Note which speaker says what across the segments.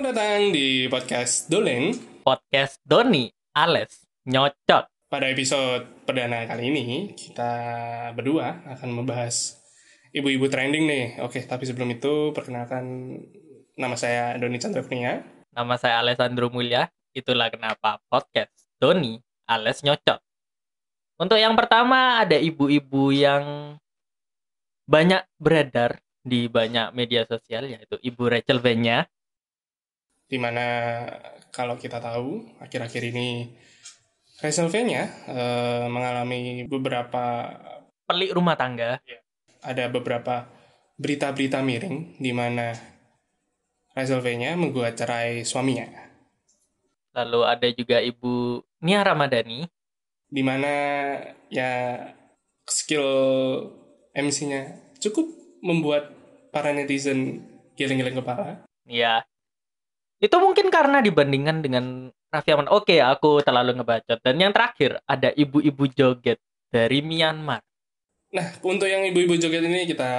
Speaker 1: datang di podcast Dolen
Speaker 2: podcast Doni, Ales, Nyocot.
Speaker 1: Pada episode perdana kali ini kita berdua akan membahas ibu-ibu trending nih Oke, tapi sebelum itu perkenalkan nama saya Doni Chandra Kurnia
Speaker 2: Nama saya Alessandro Mulya, itulah kenapa podcast Doni, Ales, Nyocot. Untuk yang pertama ada ibu-ibu yang banyak beredar di banyak media sosial yaitu Ibu Rachel Venya.
Speaker 1: Dimana kalau kita tahu akhir-akhir ini Resolvenya eh, mengalami beberapa
Speaker 2: Pelik rumah tangga
Speaker 1: ada beberapa berita-berita miring di mana Resolvenya menggugat cerai suaminya
Speaker 2: Lalu ada juga Ibu Nia Ramadhani.
Speaker 1: dimana ya skill MC-nya cukup membuat para netizen giling-giling kepala.
Speaker 2: Ya. Itu mungkin karena dibandingkan dengan Raffi Ahmad. Oke, aku terlalu ngebacot. Dan yang terakhir ada ibu-ibu joget dari Myanmar.
Speaker 1: Nah, untuk yang ibu-ibu joget ini kita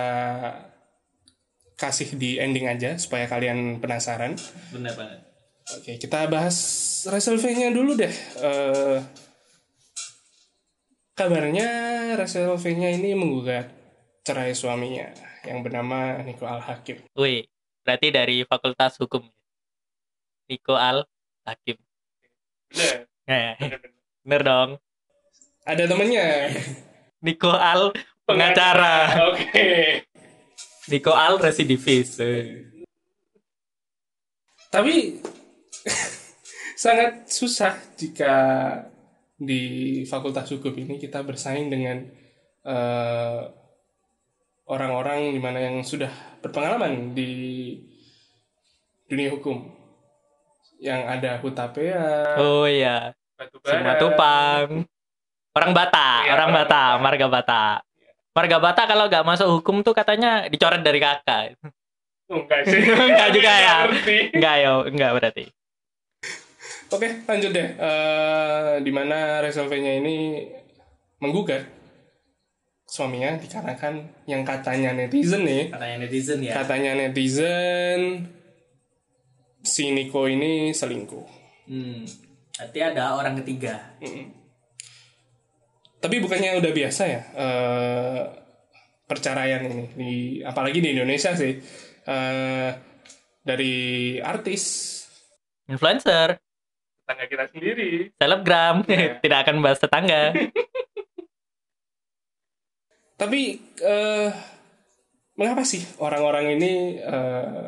Speaker 1: kasih di ending aja supaya kalian penasaran.
Speaker 2: Benar banget.
Speaker 1: Oke, kita bahas Resolve-nya dulu deh. Eh, kabarnya Resolve-nya ini menggugat cerai suaminya yang bernama Niko Al-Hakim.
Speaker 2: Wih, berarti dari Fakultas Hukum. Niko Al Hakim. Eh, bener dong.
Speaker 1: Ada temennya.
Speaker 2: Niko Al pengacara.
Speaker 1: Oke.
Speaker 2: Niko Al residivis.
Speaker 1: tapi sangat susah jika di fakultas hukum ini kita bersaing dengan eh, orang-orang di mana yang sudah berpengalaman di dunia hukum yang ada hutapea
Speaker 2: Oh iya,
Speaker 1: batubara
Speaker 2: semua tupang. Orang Bata,
Speaker 1: Iya,
Speaker 2: orang
Speaker 1: orang
Speaker 2: Bata,
Speaker 1: Bata.
Speaker 2: marga Bata. Marga Bata kalau nggak masuk hukum tuh katanya dicoret dari kakak.
Speaker 1: enggak sih
Speaker 2: Enggak juga ya.
Speaker 1: Ngerti.
Speaker 2: Enggak yo, enggak berarti.
Speaker 1: Oke, lanjut deh. Eh di mana Resolve-nya ini menggugat suaminya dikarenakan yang katanya netizen nih.
Speaker 2: Katanya netizen ya.
Speaker 1: Katanya netizen si Niko ini selingkuh.
Speaker 2: Hmm. Berarti ada orang ketiga.
Speaker 1: Mm-mm. Tapi bukannya udah biasa ya eh perceraian ini di apalagi di Indonesia sih. Eh dari artis
Speaker 2: Influencer,
Speaker 1: tetangga kita sendiri
Speaker 2: selebgram,
Speaker 1: Iya.
Speaker 2: tidak akan bahas tetangga.
Speaker 1: Tapi eh mengapa sih orang-orang ini eh,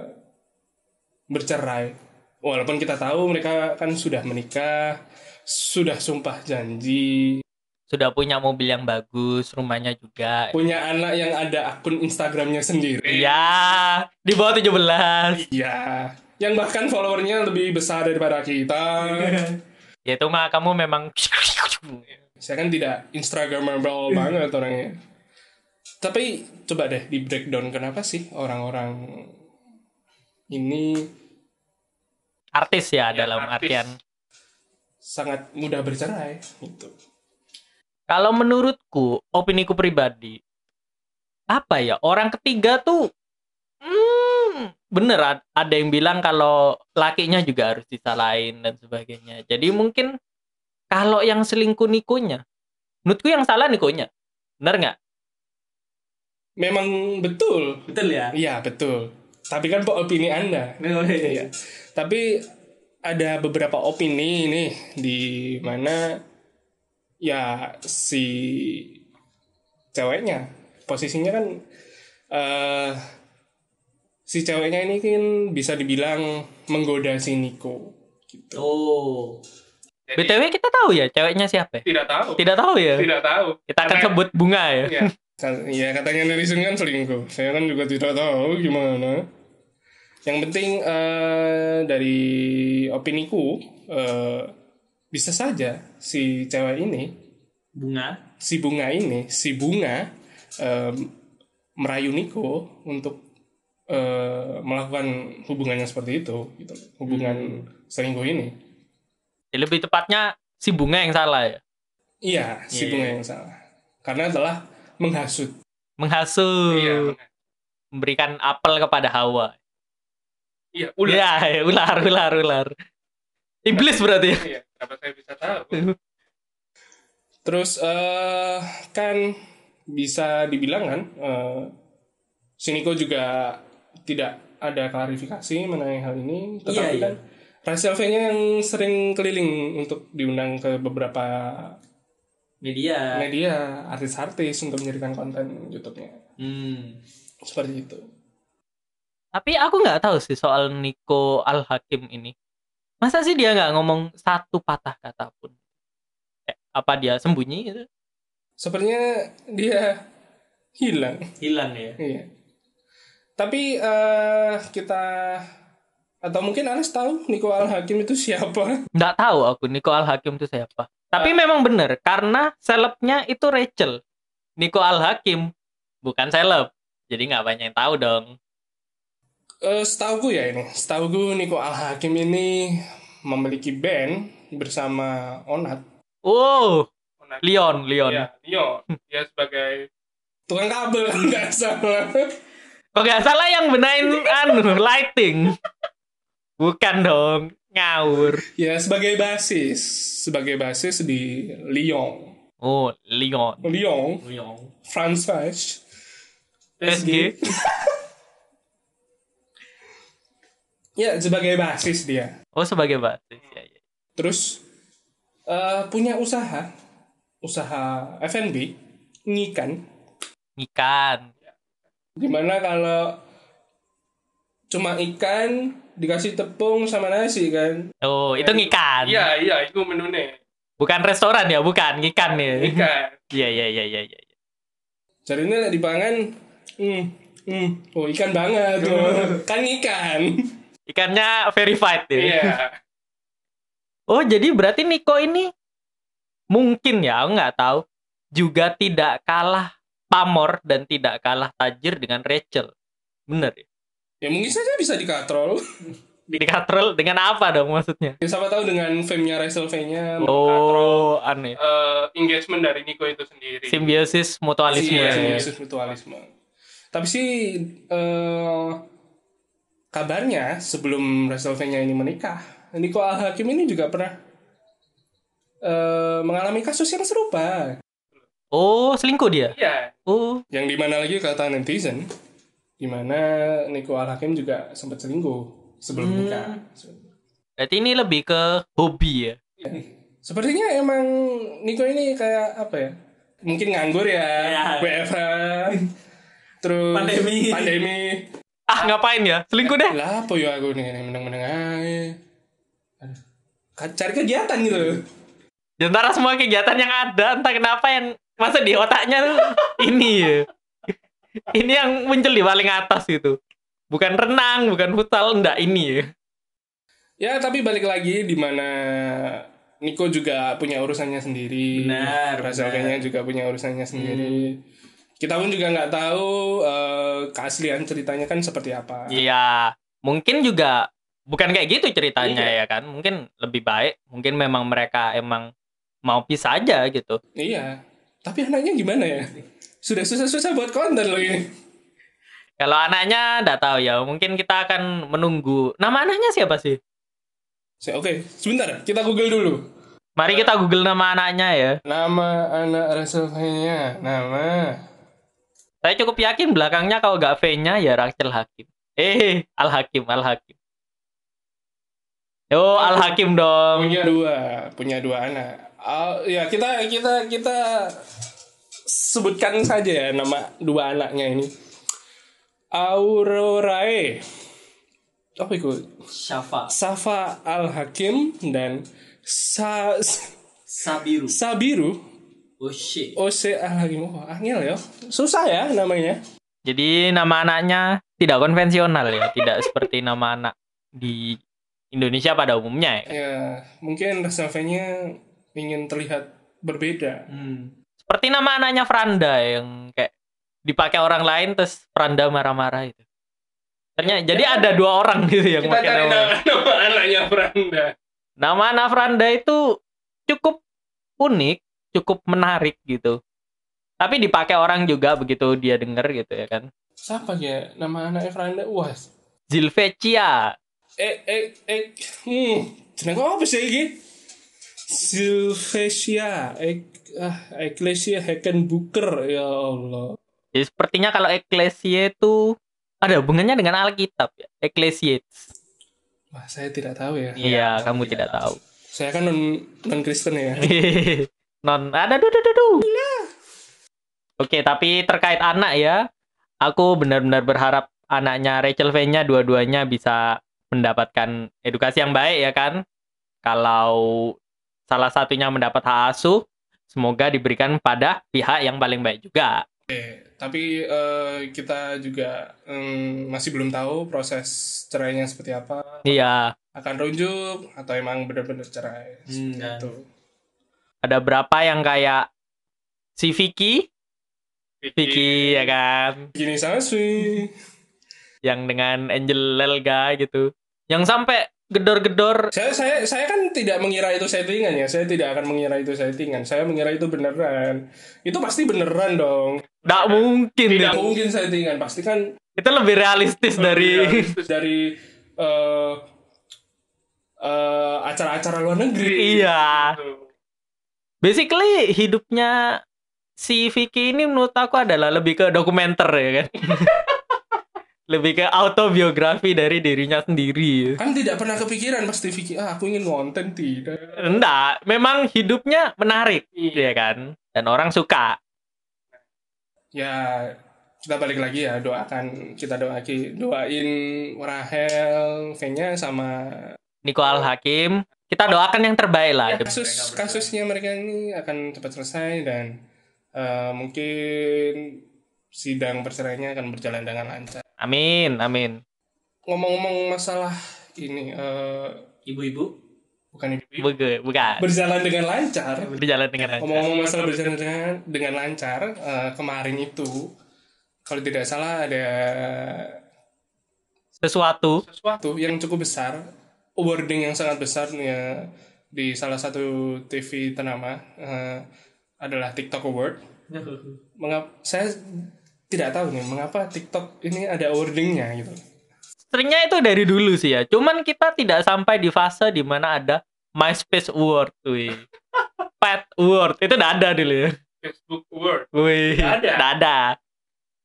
Speaker 1: bercerai? Walaupun kita tahu mereka kan sudah menikah, sudah sumpah janji,
Speaker 2: Sudah punya mobil yang bagus, rumahnya juga.
Speaker 1: punya anak yang ada akun Instagramnya sendiri.
Speaker 2: Iya, di bawah 17.
Speaker 1: Iya. Yang bahkan followernya lebih besar daripada kita.
Speaker 2: Ya itu mah kamu memang
Speaker 1: Saya kan tidak Instagramable banget orangnya. Tapi coba deh di breakdown kenapa sih orang-orang ini
Speaker 2: artis ya,
Speaker 1: Ya,
Speaker 2: dalam
Speaker 1: artis.
Speaker 2: artian.
Speaker 1: sangat mudah bercerai gitu.
Speaker 2: Kalau menurutku, opiniku pribadi, apa ya orang ketiga tuh, hmm, bener ad- ada yang bilang kalau lakinya juga harus disalahin dan sebagainya. Jadi mungkin kalau yang selingkuh nikunya, menurutku yang salah nikunya, bener nggak?
Speaker 1: Memang betul.
Speaker 2: Betul ya. Oh,
Speaker 1: Iya, betul. Tapi kan po- opini Anda. Iya. Tapi ada beberapa opini nih di mana ya si ceweknya posisinya kan eh si ceweknya ini kan bisa dibilang menggoda si Niko gitu.
Speaker 2: Oh. BTW kita tahu ya ceweknya siapa? ya?
Speaker 1: Tidak tahu.
Speaker 2: Tidak tahu ya.
Speaker 1: Tidak tahu.
Speaker 2: Kita akan sebut bunga ya.
Speaker 1: Iya. Iya katanya netizen kan selingkuh. Saya kan juga tidak tahu gimana. Yang penting eh, dari opiniku eh, bisa saja si cewek ini,
Speaker 2: Bunga.
Speaker 1: si bunga ini, si bunga eh, merayu Niko untuk eh, melakukan hubungannya seperti itu, gitu. hubungan selingkuh ini.
Speaker 2: Ya, lebih tepatnya si bunga yang salah ya.
Speaker 1: Iya, si
Speaker 2: Iya.
Speaker 1: bunga yang salah karena telah menghasut. Iya.
Speaker 2: Iya, Menghasut, memberikan apel kepada Hawa.
Speaker 1: Iya, ular.
Speaker 2: Iya, ya, ular, ular, ular. Iblis berarti ya.
Speaker 1: Iya, kenapa saya bisa tahu? Terus eh kan bisa dibilang kan eh Siniko juga tidak ada klarifikasi mengenai hal ini, tetapi
Speaker 3: Iya,
Speaker 1: kan Rachel V-nya yang sering keliling untuk diundang ke beberapa
Speaker 3: Media.
Speaker 1: media artis-artis untuk menjadikan konten YouTube-nya.
Speaker 3: Hmm.
Speaker 1: Seperti itu.
Speaker 2: Tapi aku nggak tahu sih soal Niko Al Hakim ini. Masa sih dia nggak ngomong satu patah kata pun? Eh, apa dia sembunyi gitu?
Speaker 1: Sepertinya dia hilang.
Speaker 3: Hilang ya.
Speaker 1: Iya. Tapi eh kita atau mungkin Anas tahu Niko Al Hakim itu siapa?
Speaker 2: Nggak tahu aku Niko Al Hakim itu siapa. Tapi memang bener karena selebnya itu Rachel. Niko Al Hakim bukan seleb. Jadi nggak banyak yang tahu dong.
Speaker 1: Eh setahu ya ini, setahu Niko Al Hakim ini memiliki band bersama Onat.
Speaker 2: Oh,
Speaker 1: Onat.
Speaker 2: Leon, Leon.
Speaker 1: Leon. Dia sebagai tukang kabel kalau nggak salah.
Speaker 2: Kok nggak salah yang benain anu lighting. Bukan dong, ngawur.
Speaker 1: ya sebagai basis, sebagai basis di Lyon.
Speaker 2: Oh, Leon.
Speaker 1: Lyon,
Speaker 3: Muyong.
Speaker 1: Francis.
Speaker 2: PSG.
Speaker 1: Ya sebagai basis dia.
Speaker 2: Oh, sebagai basis. Ya, ya.
Speaker 1: Terus eh, punya usaha, usaha F&B, ngikan.
Speaker 2: Ikan.
Speaker 1: Gimana kalau cuma ikan dikasih tepung sama nasi kan?
Speaker 2: Oh, itu ngikan.
Speaker 1: Iya, iya, itu menunya.
Speaker 2: Bukan restoran ya, bukan ngikan ya.
Speaker 1: Ikan.
Speaker 2: Iya, iya, iya, iya, iya.
Speaker 1: Jadinya di pangan, hmm, hmm, oh ikan banget, oh. kan ikan.
Speaker 2: Ikannya verified ya.
Speaker 1: Iya.
Speaker 2: Oh, jadi berarti Niko ini mungkin ya, aku nggak tahu, juga tidak kalah pamor dan tidak kalah tajir dengan Rachel. Bener ya?
Speaker 1: Ya mungkin saja bisa dikatrol.
Speaker 2: Dikatrol dengan apa dong maksudnya?
Speaker 1: Ya, siapa tahu dengan fame-nya, Resolve-nya,
Speaker 2: Oh, aneh.
Speaker 1: engagement dari Niko itu sendiri.
Speaker 2: Simbiosis mutualisme.
Speaker 1: Iya,
Speaker 2: ya.
Speaker 1: simbiosis mutualisme. Tapi sih eh, kabarnya sebelum Wrestlevania ini menikah, Niko Al Hakim ini juga pernah eh, mengalami kasus yang serupa.
Speaker 2: Oh, selingkuh dia?
Speaker 1: Iya.
Speaker 2: Oh,
Speaker 1: Yang dimana lagi kata netizen, dimana Niko Al Hakim juga sempat selingkuh sebelum nikah.
Speaker 2: berarti ini lebih ke hobi ya?
Speaker 1: Sepertinya emang Niko ini kayak apa ya? Mungkin nganggur ya,
Speaker 3: Ya.
Speaker 1: WFH, terus
Speaker 3: Pandemi.
Speaker 1: pandemi.
Speaker 2: Ah, ngapain ya? Selingkuh deh.
Speaker 1: lah apa ya aku nih menang-menang aja Aduh. Ka- cari kegiatan gitu
Speaker 2: Di antara Ya, semua kegiatan yang ada, entah kenapa yang masuk di otaknya tuh ini ya. Ini yang muncul di paling atas gitu. Bukan renang, bukan futsal, enggak ini ya.
Speaker 1: ya tapi balik lagi di mana Niko juga punya urusannya sendiri
Speaker 3: Benar, Hmm.
Speaker 1: Rasulnya juga punya urusannya sendiri kita pun juga nggak tahu eh, keaslian ceritanya kan seperti apa
Speaker 2: Iya, mungkin juga bukan kayak gitu ceritanya ya kan. Mungkin lebih baik, mungkin memang mereka emang mau pisah aja gitu.
Speaker 1: iya tapi anaknya gimana ya sudah susah-susah buat konten loh ini
Speaker 2: Kalau anaknya enggak tahu ya, mungkin kita akan menunggu. Nama anaknya siapa sih?
Speaker 1: Se- oke sebentar kita google dulu
Speaker 2: Mari kita Google nama anaknya ya.
Speaker 1: nama anak Rasulnya nama
Speaker 2: Saya cukup yakin belakangnya kalau nggak V-nya ya Rachel Hakim. Eh, Al Hakim, Al Hakim. Yo, Al Hakim dong.
Speaker 1: punya dua punya dua anak Ah, ya kita kita kita sebutkan saja ya nama dua anaknya ini Aurorae apa itu
Speaker 3: Syafa.
Speaker 1: Safa Al Hakim dan Sa
Speaker 3: Sabiru.
Speaker 1: Sabiru
Speaker 3: Oh shit.
Speaker 1: Ose Al Hakim oh, angel ya susah ya namanya
Speaker 2: Jadi nama anaknya tidak konvensional ya, tidak seperti nama anak di Indonesia pada umumnya ya.
Speaker 1: ya mungkin reservenya ingin terlihat berbeda
Speaker 3: Hmm.
Speaker 2: Seperti nama anaknya Franda yang kayak dipakai orang lain terus Franda marah-marah itu. Ternyata jadi ada dua orang gitu yang pakai nama.
Speaker 1: nama anaknya Franda
Speaker 2: Nama anak Franda itu cukup unik, cukup menarik gitu. Tapi dipakai orang juga begitu dia denger gitu ya kan.
Speaker 1: siapa ya nama anaknya Franda wah
Speaker 2: Zilvecia.
Speaker 1: eh eh eh hmm jeneng apa sih iki Silvesia ek ah Ecclesia Hackenbucker ya Allah
Speaker 2: Jadi Ya, sepertinya kalau eklesia itu ada hubungannya dengan Alkitab ya. Ecclesiastes.
Speaker 1: Wah, saya tidak tahu ya
Speaker 2: Iya, kamu tidak tahu.
Speaker 1: saya kan non non Kristen ya
Speaker 2: non ada duh duh duh, duh. Oke, tapi terkait anak ya, aku benar-benar berharap anaknya Rachel V-nya dua-duanya bisa mendapatkan edukasi yang baik ya kan. Kalau salah satunya mendapat hak asuh, semoga diberikan pada pihak yang paling baik juga.
Speaker 1: tapi eh, kita juga em, masih belum tahu proses cerainya seperti apa
Speaker 2: Iya,
Speaker 1: akan rujuk atau emang gitu. benar-benar cerai
Speaker 3: Hmm,
Speaker 1: Seperti
Speaker 3: dan-
Speaker 1: itu
Speaker 2: ada berapa yang kayak si Vicky, Vicky ya kan.
Speaker 1: gini sama sih
Speaker 2: yang dengan Angel Lelga gitu. Yang sampai gedor-gedor.
Speaker 1: saya saya saya kan tidak mengira itu settingan ya saya tidak akan mengira itu settingan saya mengira itu beneran itu pasti beneran dong
Speaker 2: Nggak mungkin.
Speaker 1: tidak
Speaker 2: itu.
Speaker 1: mungkin settingan pasti kan
Speaker 2: Itu lebih realistis dari
Speaker 1: realistis dari eh, eh, acara-acara luar negeri
Speaker 2: Iya. Basically hidupnya si Vicky ini menurut aku adalah lebih ke dokumenter ya kan. lebih ke autobiografi dari dirinya sendiri.
Speaker 1: kan tidak pernah kepikiran pasti Vicky ah aku ingin konten tidak
Speaker 2: Enggak, memang hidupnya menarik
Speaker 1: Iya.
Speaker 2: ya kan. Dan orang suka.
Speaker 1: ya kita balik lagi ya doakan kita doaki doain Rahel Venya sama
Speaker 2: Niko Al Hakim, kita doakan yang terbaik lah.
Speaker 1: Ya, kasus kasusnya mereka ini akan cepat selesai dan eh, mungkin sidang perceraiannya akan berjalan dengan lancar.
Speaker 2: Amin, amin.
Speaker 1: Ngomong-ngomong masalah ini eh,
Speaker 3: Ibu-ibu.
Speaker 1: bukan ibu-ibu,
Speaker 2: Bukan, bukan.
Speaker 1: berjalan dengan lancar.
Speaker 2: berjalan dengan lancar.
Speaker 1: Ngomong-ngomong masalah berjalan dengan, dengan lancar eh, kemarin itu kalau tidak salah ada
Speaker 2: Sesuatu
Speaker 1: sesuatu yang cukup besar, awarding yang sangat besar nih, ya, di salah satu TV ternama eh, adalah TikTok Award. mengapa saya tidak tahu nih mengapa TikTok ini ada awardingnya gitu.
Speaker 2: seringnya itu dari dulu sih ya. Cuman kita tidak sampai di fase di mana ada MySpace Award, wih. Pet Award itu tidak ada dulu ya.
Speaker 1: Facebook Award.
Speaker 2: Wih,
Speaker 1: Nggak ada.
Speaker 2: nggak ada.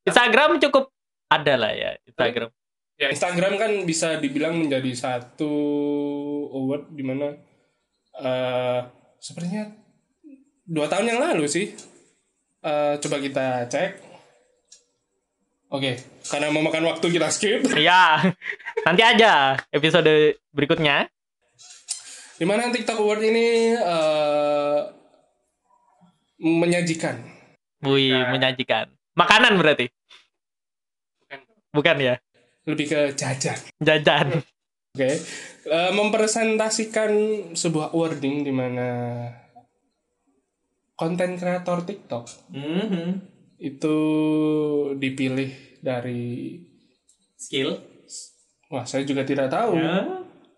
Speaker 2: Instagram cukup ada lah ya Instagram.
Speaker 1: Ya Instagram kan bisa dibilang menjadi satu award di mana eh sepertinya dua tahun yang lalu sih. Eh coba kita cek. Oke, karena memakan waktu kita skip.
Speaker 2: Iya. Nanti aja episode berikutnya.
Speaker 1: Di mana TikTok Award ini eh menyajikan
Speaker 2: Wih,
Speaker 1: Iya.
Speaker 2: menyajikan. Makanan berarti. Bukan ya?
Speaker 1: lebih ke jajan.
Speaker 2: Jajan.
Speaker 1: Oke, Eh, mempresentasikan sebuah awarding di mana konten kreator TikTok
Speaker 3: Mhm.
Speaker 1: Mm-hmm. itu dipilih dari
Speaker 3: Skill.
Speaker 1: wah saya juga tidak tahu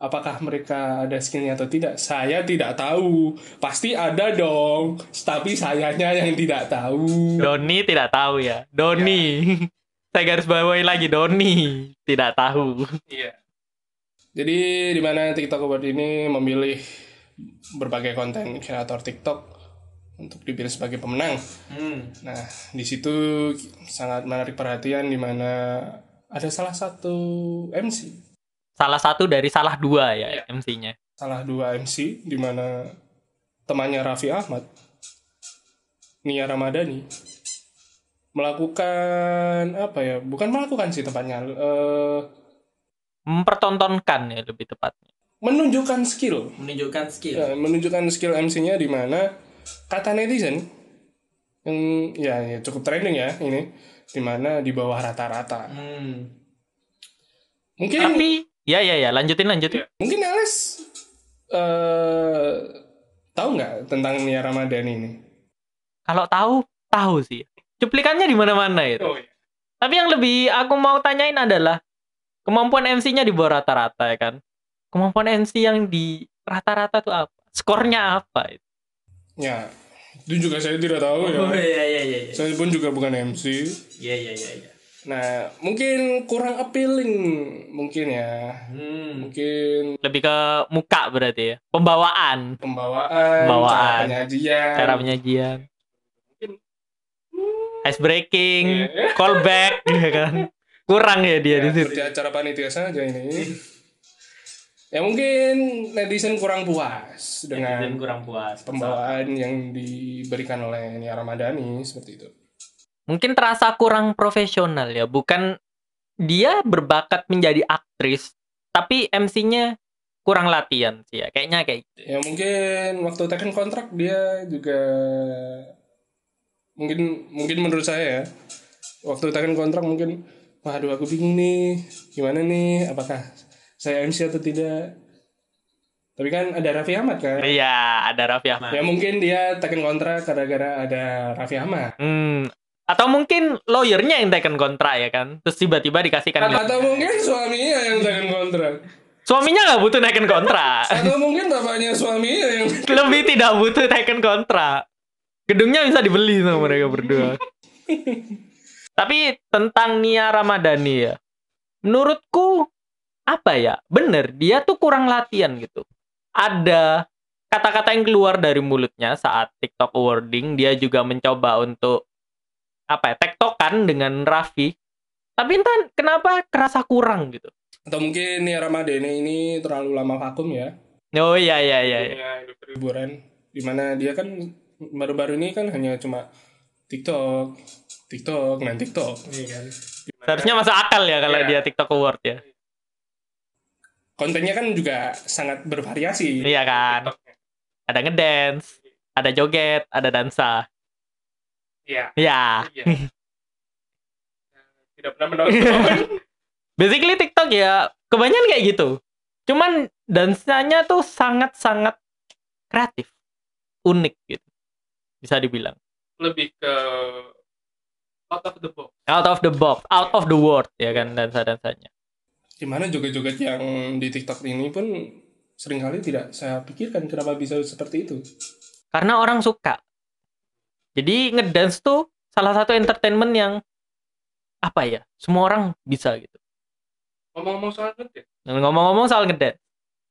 Speaker 1: apakah mereka ada skillnya atau tidak saya tidak tahu pasti ada dong tapi sayanya yang tidak tahu
Speaker 2: Doni tidak tahu ya. Doni.
Speaker 1: Iya.
Speaker 2: Saya garis bawahi lagi Doni tidak tahu.
Speaker 1: Jadi di mana TikTok Award ini memilih berbagai konten kreator TikTok untuk dipilih sebagai pemenang.
Speaker 3: Hmm.
Speaker 1: Nah, di situ sangat menarik perhatian di mana ada salah satu MC,
Speaker 2: Salah satu dari salah dua ya MC-nya.
Speaker 1: salah dua MC di mana temannya Raffi Ahmad, Nia Ramadhani melakukan apa ya? Bukan melakukan sih tepatnya, eh,
Speaker 2: Mempertontonkan ya lebih tepatnya.
Speaker 1: menunjukkan skill,
Speaker 3: Menunjukkan skill.
Speaker 1: Ya, menunjukkan skill MC-nya di mana kata netizen yang ya, ya cukup trending ya ini di mana di bawah rata-rata.
Speaker 3: Hmm.
Speaker 1: Mungkin
Speaker 2: Tapi ya ya ya lanjutin lanjutin.
Speaker 1: Mungkin Alex eh tahu nggak tentang Nia Ramadhani ini?
Speaker 2: Kalau tahu tahu sih. Cuplikannya di mana-mana itu.
Speaker 1: Oh iya.
Speaker 2: Tapi yang lebih aku mau tanyain adalah kemampuan MC-nya di bawah rata-rata ya kan. Kemampuan MC yang di rata-rata tuh apa? Skornya apa?
Speaker 1: Ya, itu juga saya tidak tahu ya.
Speaker 3: Oh iya iya iya iya.
Speaker 1: Saya pun juga bukan MC.
Speaker 3: Iya iya iya. iya.
Speaker 1: Nah, mungkin kurang appealing mungkin ya.
Speaker 3: Hmm.
Speaker 1: Mungkin
Speaker 2: Lebih ke muka berarti ya. Pembawaan,
Speaker 1: pembawaan, cara
Speaker 2: Pembawaan.
Speaker 1: penyajian.
Speaker 2: cara penyajian. Ice breaking,
Speaker 1: Iya.
Speaker 2: callback ya kan. Kurang ya
Speaker 3: Iya,
Speaker 2: dia di situ.
Speaker 1: Seperti Iya, acara panitia saja ini. ya mungkin netizen kurang puas
Speaker 3: Netizen
Speaker 1: dengan
Speaker 3: kurang puas.
Speaker 1: pembawaan yang diberikan oleh Nia Ramadhani seperti itu.
Speaker 2: Mungkin terasa kurang profesional ya, bukan dia berbakat menjadi aktris, tapi MC-nya kurang latihan sih ya. Kayaknya kayak gitu.
Speaker 1: Ya mungkin waktu tekan kontrak dia juga mungkin mungkin menurut saya ya waktu tekan kontrak mungkin waduh aku bingung nih gimana nih apakah saya MC atau tidak tapi kan ada Raffi Ahmad kan
Speaker 2: Iya, ada Raffi Ahmad.
Speaker 1: ya mungkin dia tekan kontrak gara-gara ada Raffi Ahmad
Speaker 2: Hmm. Atau mungkin lawyernya yang taken kontrak ya kan. Terus tiba-tiba dikasihkan
Speaker 1: atau mungkin suaminya yang tekan kontrak
Speaker 2: Suaminya nggak butuh naikkan kontrak.
Speaker 1: atau mungkin bapaknya suaminya yang
Speaker 2: Lebih tidak butuh naikkan kontrak. Gedungnya bisa dibeli sama mereka berdua. Tapi tentang Nia Ramadhani ya. Menurutku apa ya? Bener, dia tuh kurang latihan gitu. Ada kata-kata yang keluar dari mulutnya saat TikTok awarding, dia juga mencoba untuk apa ya? Tektokan dengan Raffi. Tapi entah kenapa kerasa kurang gitu.
Speaker 1: atau mungkin Nia Ramadhani ini terlalu lama vakum ya
Speaker 2: Oh iya iya iya. iya.
Speaker 1: ya hidup liburan dimana dia kan baru-baru ini kan hanya cuma TikTok TikTok dan TikTok
Speaker 3: Iya kan.
Speaker 2: Seharusnya masuk akal ya kalau
Speaker 1: Iya.
Speaker 2: dia TikTok award ya.
Speaker 1: kontennya kan juga sangat bervariasi
Speaker 2: Iya kan. Ada ngedance, ada joget, ada dansa.
Speaker 1: Iya.
Speaker 2: Ya,
Speaker 1: Iya. Nah, tidak pernah menonton
Speaker 2: basically TikTok ya kebanyakan kayak gitu. Cuman dansanya tuh sangat-sangat kreatif, unik gitu. Bisa dibilang.
Speaker 1: lebih ke out of the box
Speaker 2: Out of the box, out of the world ya kan dansa-dansanya.
Speaker 1: dimana joget-joget yang di TikTok ini pun seringkali tidak saya pikirkan kenapa bisa seperti itu
Speaker 2: Karena orang suka. Jadi ngedance tuh salah satu entertainment yang apa ya? Semua orang bisa gitu.
Speaker 1: ngomong-ngomong soal joget ya?
Speaker 2: Dan ngomong-ngomong soal ngedance.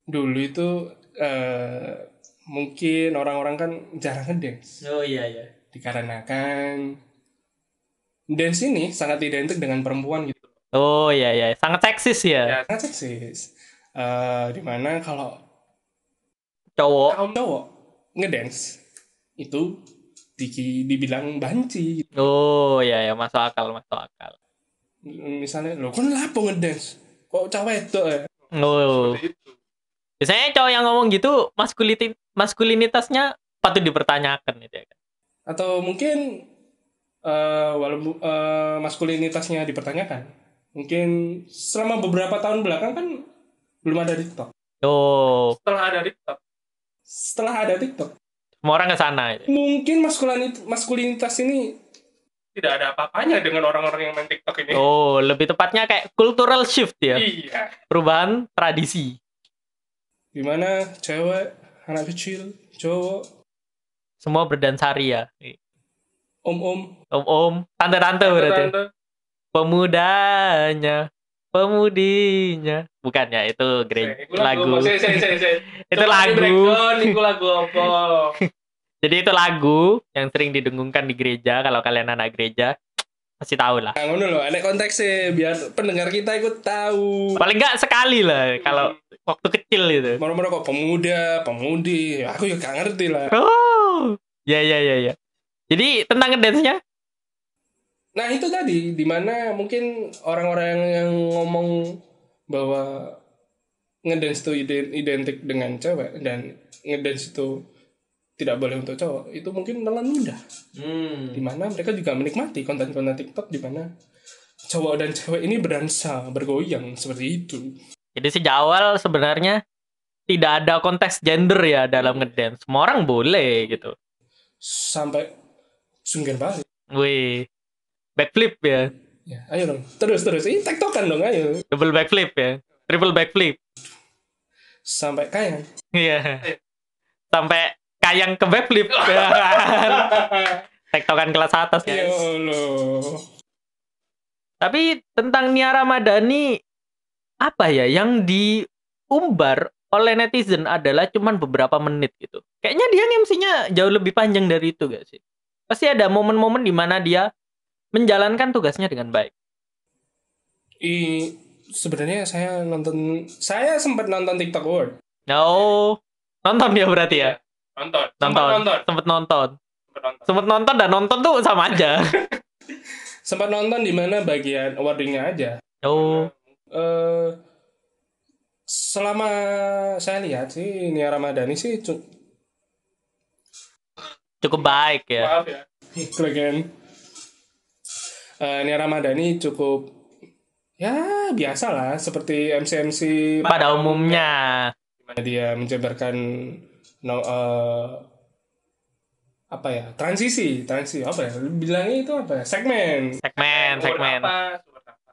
Speaker 1: dulu itu eh, mungkin orang-orang kan jarang ngedance
Speaker 3: Oh iya iya.
Speaker 1: dikarenakan dance ini sangat identik dengan perempuan gitu
Speaker 2: Oh iya iya, sangat seksis ya,
Speaker 1: ya sangat seksis Eh, dimana kalau
Speaker 2: cowok.
Speaker 1: kaum cowok ngedance itu di- dibilang banci
Speaker 2: Oh iya ya, masuk akal, masuk akal.
Speaker 1: misalnya lo kan lapo ngedance kok cewek itu ya
Speaker 2: Oh. Biasanya cowok yang ngomong gitu maskuliti maskulinitasnya patut dipertanyakan gitu ya kan.
Speaker 1: atau mungkin eh walaupun eh, maskulinitasnya dipertanyakan mungkin selama beberapa tahun belakang kan belum ada TikTok
Speaker 2: Oh,
Speaker 1: setelah ada TikTok setelah ada TikTok
Speaker 2: semua orang ke sana gitu.
Speaker 1: mungkin maskulinitas, maskulinitas ini tidak ada apa-apanya dengan orang-orang yang main TikTok ini.
Speaker 2: Oh, lebih tepatnya kayak cultural shift ya,
Speaker 1: Iya.
Speaker 2: perubahan tradisi.
Speaker 1: Gimana cewek, anak kecil, cowok,
Speaker 2: Semua berdansari ya.
Speaker 1: om-om,
Speaker 2: Om-om, tante-tante Oh, berarti.
Speaker 1: tante,
Speaker 2: Pemudanya, pemudinya. Bukan ya, itu
Speaker 1: Eh,
Speaker 2: gere-
Speaker 1: iku
Speaker 2: lagu.
Speaker 1: Saya, saya, saya, saya.
Speaker 2: Itu
Speaker 1: Coba di
Speaker 2: lagu.
Speaker 1: breakdown, iku lagu apa?
Speaker 2: Jadi itu lagu yang sering didengungkan di gereja kalau kalian anak gereja pasti tahu lah.
Speaker 1: Nah, ngono loh, ada konteksnya biar pendengar kita ikut tahu.
Speaker 2: Paling nggak sekali lah kalau waktu kecil gitu.
Speaker 1: Moro-moro kok pemuda, pemudi, ya aku ya gak ngerti lah.
Speaker 2: Oh. Ya ya ya ya. Jadi tentang ngedance-nya
Speaker 1: Nah itu tadi dimana mungkin orang-orang yang ngomong bahwa ngedance itu iden- identik dengan cewek dan ngedance itu tidak boleh untuk cowok itu mungkin telan mudah
Speaker 3: Hmm.
Speaker 1: dimana mereka juga menikmati konten-konten TikTok dimana cowok dan cewek ini berdansa bergoyang seperti itu
Speaker 2: Jadi sejak awal sebenarnya tidak ada konteks gender ya dalam ngedance. Semua orang boleh gitu.
Speaker 1: sampai sungkan balik
Speaker 2: Wih. Backflip ya.
Speaker 1: ya ayo dong terus terus ini tektokan dong ayo
Speaker 2: Double backflip ya. Triple backflip.
Speaker 1: sampai kaya
Speaker 2: Iya. Sampai kayang ke backflip. Ya. Tektokan kelas atas
Speaker 1: ya
Speaker 2: ya.
Speaker 1: Allah
Speaker 2: Tapi tentang Nia Ramadhani apa ya yang diumbar oleh netizen adalah cuman beberapa menit gitu. Kayaknya dia MC-nya jauh lebih panjang dari itu gak sih? Pasti ada momen-momen di mana dia menjalankan tugasnya dengan baik.
Speaker 1: I, sebenarnya saya nonton saya sempat nonton TikTok World.
Speaker 2: No, Oh, nonton dia berarti ya.
Speaker 1: Nonton.
Speaker 2: Nonton.
Speaker 1: Sempat nonton.
Speaker 2: Sempet nonton.
Speaker 1: Sempat nonton.
Speaker 2: Sempet nonton dan nonton tuh sama aja.
Speaker 1: Sempat nonton di mana bagian awardingnya aja.
Speaker 2: Oh,
Speaker 1: eh selama saya lihat sih Nia Ramadhani sih cu-
Speaker 2: cukup baik ya.
Speaker 1: maaf ya kelegaan Eh, Nia Ramadhani cukup ya biasa lah seperti MC MC
Speaker 2: Pada umumnya.
Speaker 1: dia menjabarkan no, eh, apa ya transisi transisi apa ya bilangnya itu apa ya segmen
Speaker 2: Segmen, segmen.
Speaker 1: Apa, seperti apa.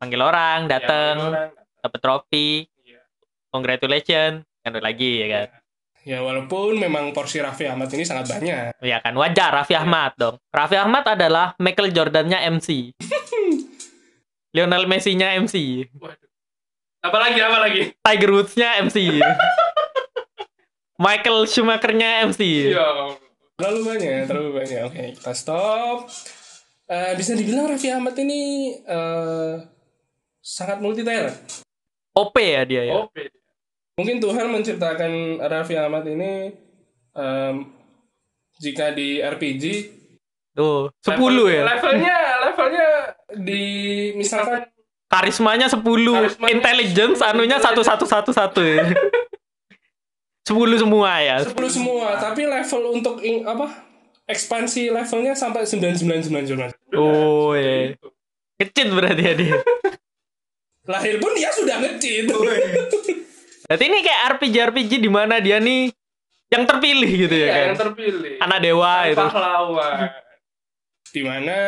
Speaker 2: Panggil orang,
Speaker 1: Ya,
Speaker 2: dateng,
Speaker 1: orang.
Speaker 2: dapet trofi.
Speaker 1: Iya.
Speaker 2: Congratulations. Kan lagi ya kan.
Speaker 1: ya walaupun memang porsi Raffi Ahmad ini sangat banyak
Speaker 2: Ya kan wajar Raffi
Speaker 1: Iya.
Speaker 2: Ahmad dong. Raffi Ahmad adalah Michael Jordannya MC. Lionel Messi-nya MC.
Speaker 1: apalagi apalagi
Speaker 2: Tiger Woods-nya MC. Michael Schumacher-nya MC.
Speaker 1: Iya. Terlalu banyak, terlalu banyak. Oke, kita stop. Eh, bisa dibilang Raffi Ahmad ini eh, sangat multi talent.
Speaker 2: OP ya dia ya.
Speaker 1: Mungkin Tuhan menciptakan Raffi Ahmad ini em, jika di RPG
Speaker 2: Tuh, 10 ya.
Speaker 1: Levelnya, levelnya di misalkan
Speaker 2: Karismanya 10,
Speaker 1: Karismanya-
Speaker 2: intelligence anunya 1111 ya. 10 semua ya.
Speaker 1: 10 semua, tapi level untuk ing- apa? Ekspansi levelnya sampai 9999.
Speaker 2: Oh, iya. Kecil berarti ya dia.
Speaker 1: Lahir pun dia sudah ngecit.
Speaker 2: Berarti ini kayak RPG RPG di mana dia nih yang terpilih gitu ya kan.
Speaker 1: terpilih.
Speaker 2: Anak dewa itu.
Speaker 1: pahlawan di mana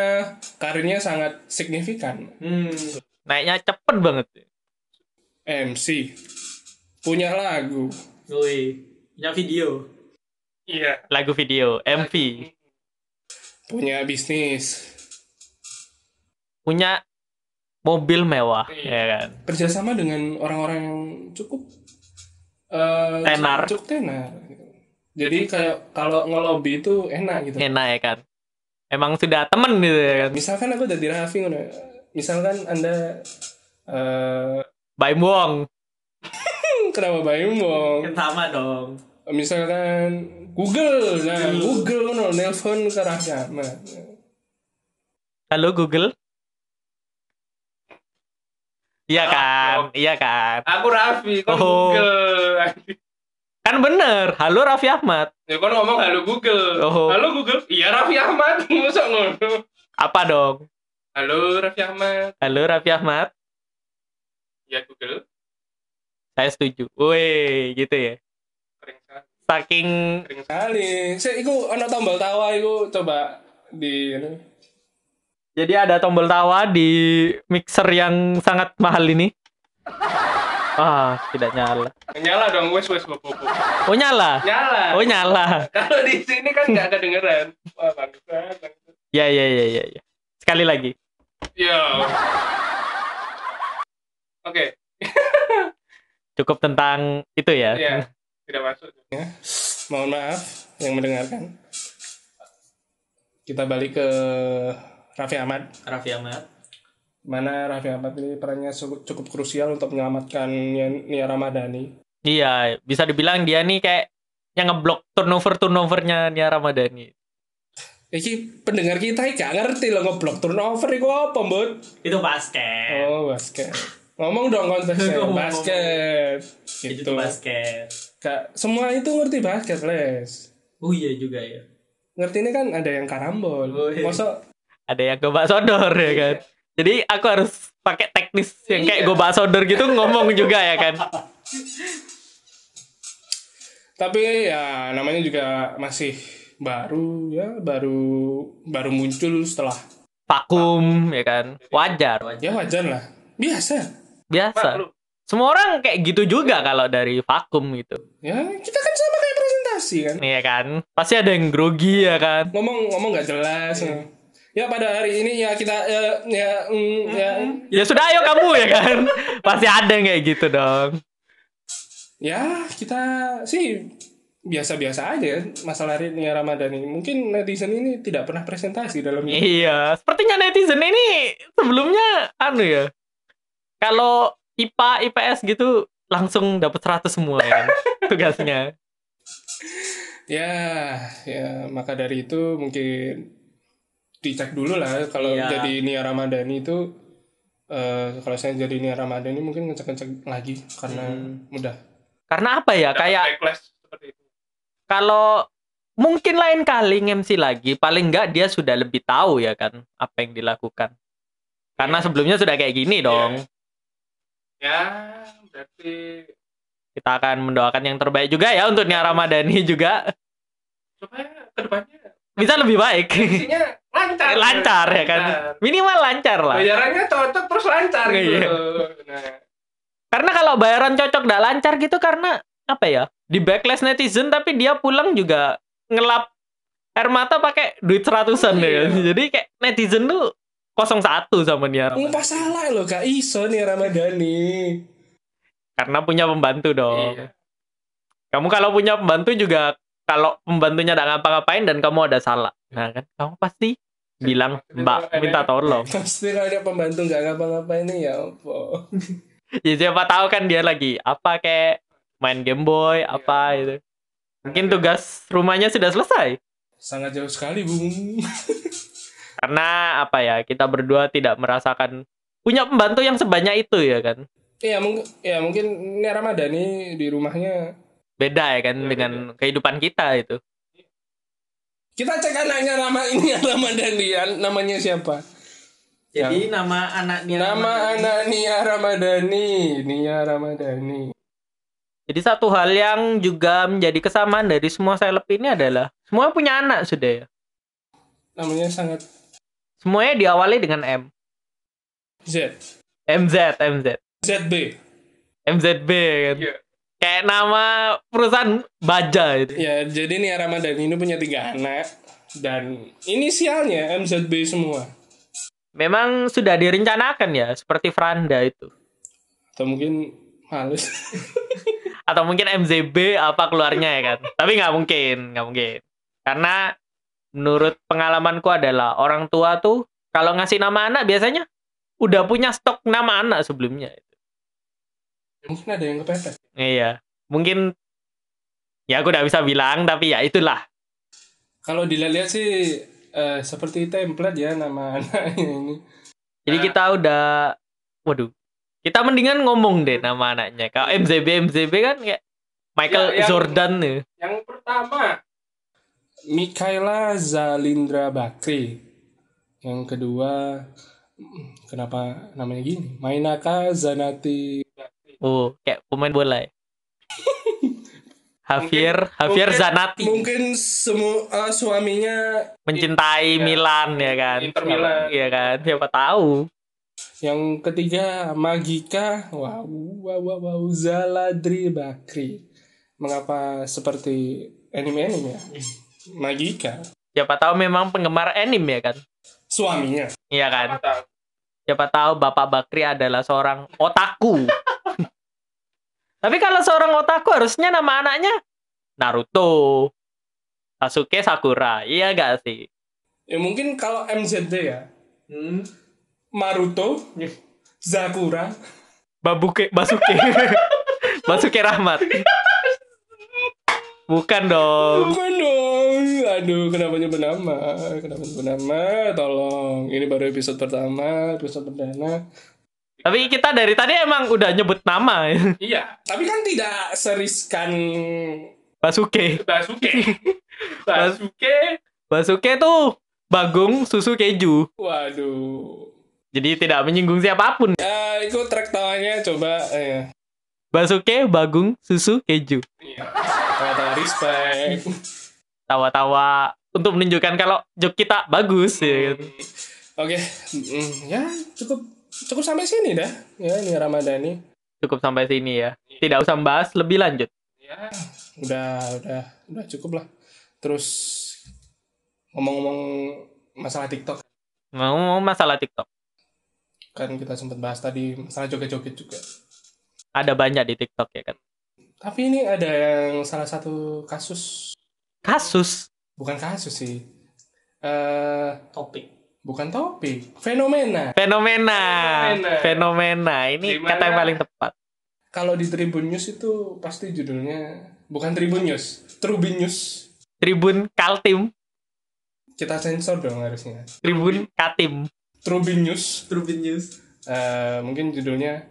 Speaker 1: karirnya sangat signifikan
Speaker 3: Hmm.
Speaker 2: Naiknya cepet banget.
Speaker 1: MC punya lagu
Speaker 3: Woi. Punya video.
Speaker 1: iya
Speaker 2: Lagu video, MV,
Speaker 1: punya bisnis
Speaker 2: punya mobil mewah
Speaker 1: Iya.
Speaker 2: ya kan.
Speaker 1: kerjasama dengan orang-orang yang cukup eh,
Speaker 2: Tenar.
Speaker 1: cukup tenar gitu. jadi kayak kalau ngelobi itu enak gitu
Speaker 2: Enak ya kan. Emang sudah temen gitu ya kan.
Speaker 1: misalkan aku jadi Raffi ngono, misalkan anda eh
Speaker 2: Baim Wong.
Speaker 1: kenapa Bayu mau
Speaker 3: Yang sama dong.
Speaker 1: misalkan Google nah Google ngono nelpon ke Raffi Ahmad.
Speaker 2: Halo Google. Iya kan, iya kan.
Speaker 1: Aku Raffi,
Speaker 2: kau Oh.
Speaker 1: Google.
Speaker 2: Kan bener. Halo Raffi Ahmad.
Speaker 1: Ya kau ngomong halo Google.
Speaker 2: Oh.
Speaker 1: Halo Google. Iya Raffi Ahmad, masa ngono.
Speaker 2: Apa dong?
Speaker 1: Halo Raffi Ahmad.
Speaker 2: Halo Raffi Ahmad.
Speaker 1: Iya Google.
Speaker 2: Saya setuju. Woi, gitu ya.
Speaker 1: Kering sekali.
Speaker 2: Saking
Speaker 1: Kering sekali. Saya iku ana tombol tawa iku coba di
Speaker 2: jadi ada tombol tawa di mixer yang sangat mahal ini. Ah, tidak nyala.
Speaker 1: nyala dong wes wes bobo.
Speaker 2: Oh nyala.
Speaker 1: Nyala.
Speaker 2: Oh nyala.
Speaker 1: Kalau di sini kan nggak kedengeran. Wah bangsa. bangsa.
Speaker 2: Ya ya ya ya. ya. Sekali lagi.
Speaker 1: Yo. Oke,
Speaker 2: Cukup tentang itu ya.
Speaker 3: Iya,
Speaker 1: ya. Tidak masuk. Ya. Mohon maaf yang mendengarkan. Kita balik ke Raffi Ahmad.
Speaker 3: Raffi Ahmad.
Speaker 1: mana Raffi Ahmad ini perannya su- cukup krusial untuk menyelamatkan Nia, Nia Ramadhani.
Speaker 2: Iya, bisa dibilang dia nih kayak yang ngeblok turnover turnovernya Nia Ramadhani.
Speaker 1: Iki pendengar kita iki gak ngerti loh ngeblok turnover iku apa, Mbut?
Speaker 3: Itu basket.
Speaker 1: Oh, basket. Ngomong dong konteksnya
Speaker 3: Ngomong,
Speaker 1: basket. Gitu.
Speaker 3: Itu tuh basket.
Speaker 1: Gak- semua itu ngerti basket, Les.
Speaker 3: Oh iya juga ya.
Speaker 1: Ngerti ini kan ada yang karambol.
Speaker 3: Oh, iya.
Speaker 1: Masa
Speaker 2: Ada yang gobak sodor ya kan. Jadi aku harus pakai teknis yang kayak
Speaker 3: Iya.
Speaker 2: gobak sodor gitu ngomong juga ya kan.
Speaker 1: tapi ya namanya juga masih baru ya, baru baru muncul setelah
Speaker 2: Vakum ya kan. Wajar.
Speaker 1: ya wajar lah. Biasa.
Speaker 2: Biasa. Semua orang kayak gitu juga kalau dari vakum gitu.
Speaker 1: Ya, kita kan sama kayak presentasi kan.
Speaker 2: Nih ya kan. Pasti ada yang grogi ya kan.
Speaker 3: Iya.
Speaker 1: ngomong ngomong nggak jelas Ya pada hari ini ya kita eh, ya mm, ya
Speaker 2: Ya sudah ayo kamu ya kan. Pasti ada yang kayak gitu dong.
Speaker 1: ya kita sih biasa-biasa aja ya masalah hari ini ya, Ramadan ini. Mungkin netizen ini tidak pernah presentasi dalam ini.
Speaker 2: Iya, sepertinya netizen ini sebelumnya anu ya. Kalau IPA, IPS gitu langsung dapat 100 semua kan tugasnya.
Speaker 1: Ya, ya maka dari itu mungkin dicek dulu lah kalau
Speaker 3: Iya.
Speaker 1: jadi Nia Ramadhani itu eh kalau saya jadi Nia Ramadhani mungkin ngecek-ngecek lagi karena
Speaker 2: Hmm.
Speaker 1: mudah.
Speaker 2: Karena apa ya? Kayak
Speaker 1: seperti itu.
Speaker 2: kalau mungkin lain kali MC lagi paling nggak dia sudah lebih tahu ya kan apa yang dilakukan karena sebelumnya sudah kayak gini dong
Speaker 1: Ya, berarti
Speaker 2: kita akan mendoakan yang terbaik juga ya untuk Nia Ramadhani juga
Speaker 1: supaya kedepannya
Speaker 2: bisa lebih baik
Speaker 1: isinya lancar. Nah,
Speaker 2: lancar ya kan minimal lancar lah
Speaker 1: Bayarannya cocok terus lancar
Speaker 2: gitu Iya.
Speaker 1: Nah,
Speaker 2: karena kalau bayaran cocok nggak lancar gitu karena apa ya di backlash netizen tapi dia pulang juga ngelap air mata pakai duit seratusan ya kan? jadi kayak netizen tuh 01 sama Nia
Speaker 1: Nah,
Speaker 2: Ramadhani.
Speaker 1: ngumpah salah loh Kak Iso Nia Ramadhani.
Speaker 2: karena punya pembantu dong.
Speaker 1: Iya.
Speaker 2: Kamu kalau punya pembantu juga kalau pembantunya nggak ngapa-ngapain dan kamu ada salah, nah kan kamu pasti bilang Mbak minta tolong.
Speaker 1: Pasti kalau ada pembantu nggak ngapa-ngapain nih ya ampun.
Speaker 2: Ya siapa tahu kan dia lagi apa kayak main Game Boy apa itu. Mungkin tugas rumahnya sudah selesai.
Speaker 1: sangat jauh sekali bung
Speaker 2: Karena apa ya kita berdua tidak merasakan punya pembantu yang sebanyak itu ya kan.
Speaker 1: ya mungkin ya mungkin ini Ramadhani di rumahnya
Speaker 2: Beda ya kan dengan kehidupan kita itu.
Speaker 1: kita cek anaknya Rama ini Ramadhani an- namanya siapa Ya.
Speaker 3: Jadi nama anaknya
Speaker 1: nama anak Nia Ramadhani Nia Ramadhani
Speaker 2: Jadi satu hal yang juga menjadi kesamaan dari semua seleb ini adalah semua punya anak sudah ya.
Speaker 1: namanya sangat
Speaker 2: Semuanya diawali dengan M.
Speaker 1: Z
Speaker 2: MZ, MZ.
Speaker 1: ZB
Speaker 2: MZB kan.
Speaker 1: Iya.
Speaker 2: Kayak nama perusahaan baja itu.
Speaker 1: ya jadi Nia Ramadhani ini punya tiga anak dan inisialnya MZB semua
Speaker 2: Memang sudah direncanakan ya seperti Franda itu.
Speaker 1: atau mungkin halus
Speaker 2: Atau mungkin MZB apa keluarnya ya kan. Tapi nggak mungkin, nggak mungkin. Karena menurut pengalamanku adalah orang tua tuh kalau ngasih nama anak biasanya udah punya stok nama anak sebelumnya.
Speaker 1: mungkin ada yang kepepet
Speaker 2: Iya, mungkin ya aku udah bisa bilang tapi ya itulah.
Speaker 1: kalau dilihat sih eh, seperti template ya nama anaknya ini
Speaker 2: Jadi
Speaker 1: Nah.
Speaker 2: kita udah, waduh, kita mendingan ngomong deh nama anaknya. Kalau MZB MZB kan kayak Michael
Speaker 1: Ya, yang-
Speaker 2: Jordan nih.
Speaker 1: Yang pertama Mikaela Zalindra Bakri. Yang kedua mm, kenapa namanya gini? Mainaka Zanati.
Speaker 2: Oh, kayak pemain bola. Ya. Javier Javier
Speaker 1: mungkin-
Speaker 2: Zanatti
Speaker 1: Mungkin semua eh, suaminya
Speaker 2: mencintai
Speaker 1: Iya.
Speaker 2: Milan ya kan.
Speaker 1: Inter Milan.
Speaker 2: Iya kan. Siapa tahu.
Speaker 1: yang ketiga Magika wow wow wow, wow, Zaladri Bakri. Mengapa seperti anime-anime ya? Magika
Speaker 2: Siapa tahu memang penggemar anime ya kan.
Speaker 1: suaminya.
Speaker 2: Iya kan. Siapa tahu Bapak Bakri adalah seorang otaku. Tapi kalau seorang otaku harusnya nama anaknya Naruto, Sasuke, Sakura. Iya gak sih?
Speaker 1: Ya mungkin kalau MZD ya
Speaker 3: Hmm.
Speaker 1: Maruto, Zakura,
Speaker 2: Babuke, Basuke. Basuke Rahmat. Bukan dong.
Speaker 1: Bukan dong. Aduh, kenapa nyebut nama? Kenapa nyebut nama? Tolong. Ini baru episode pertama, episode perdana.
Speaker 2: Tapi kita dari tadi emang udah nyebut nama.
Speaker 1: Iya. Tapi kan tidak seriskan
Speaker 2: Basuke.
Speaker 1: Basuke.
Speaker 2: Basuke. Basuke tuh Bagung Susu Keju.
Speaker 1: Waduh.
Speaker 2: Jadi tidak menyinggung siapapun.
Speaker 1: Ya, itu track tawanya coba eh,
Speaker 2: Basuke, Bagung, Susu Keju.
Speaker 1: tawa-tawa respect.
Speaker 2: tawa-tawa untuk menunjukkan kalau joke kita bagus ya gitu.
Speaker 1: Oke, mm, ya cukup cukup sampai sini dah. Ya, ini Ramadhani.
Speaker 2: Cukup sampai sini ya. Tidak usah bahas lebih lanjut.
Speaker 1: Udah, udah, udah cukup lah. Terus ngomong-ngomong masalah TikTok
Speaker 2: mau mau masalah TikTok
Speaker 1: kan kita sempat bahas tadi masalah joget-joget juga
Speaker 2: ada banyak di TikTok ya kan
Speaker 1: tapi ini ada yang salah satu kasus
Speaker 2: kasus
Speaker 1: bukan kasus sih eh
Speaker 3: topik
Speaker 1: bukan topik fenomena
Speaker 2: fenomena
Speaker 1: Fenomena.
Speaker 2: fenomena, ini
Speaker 1: Gimana?
Speaker 2: kata yang paling tepat
Speaker 1: kalau di Tribun News itu pasti judulnya bukan Tribun News Trubin News
Speaker 2: Tribun Kaltim
Speaker 1: kita sensor dong harusnya
Speaker 2: Tribun Katim
Speaker 1: Trubin News
Speaker 3: Trubin News
Speaker 1: eh, mungkin judulnya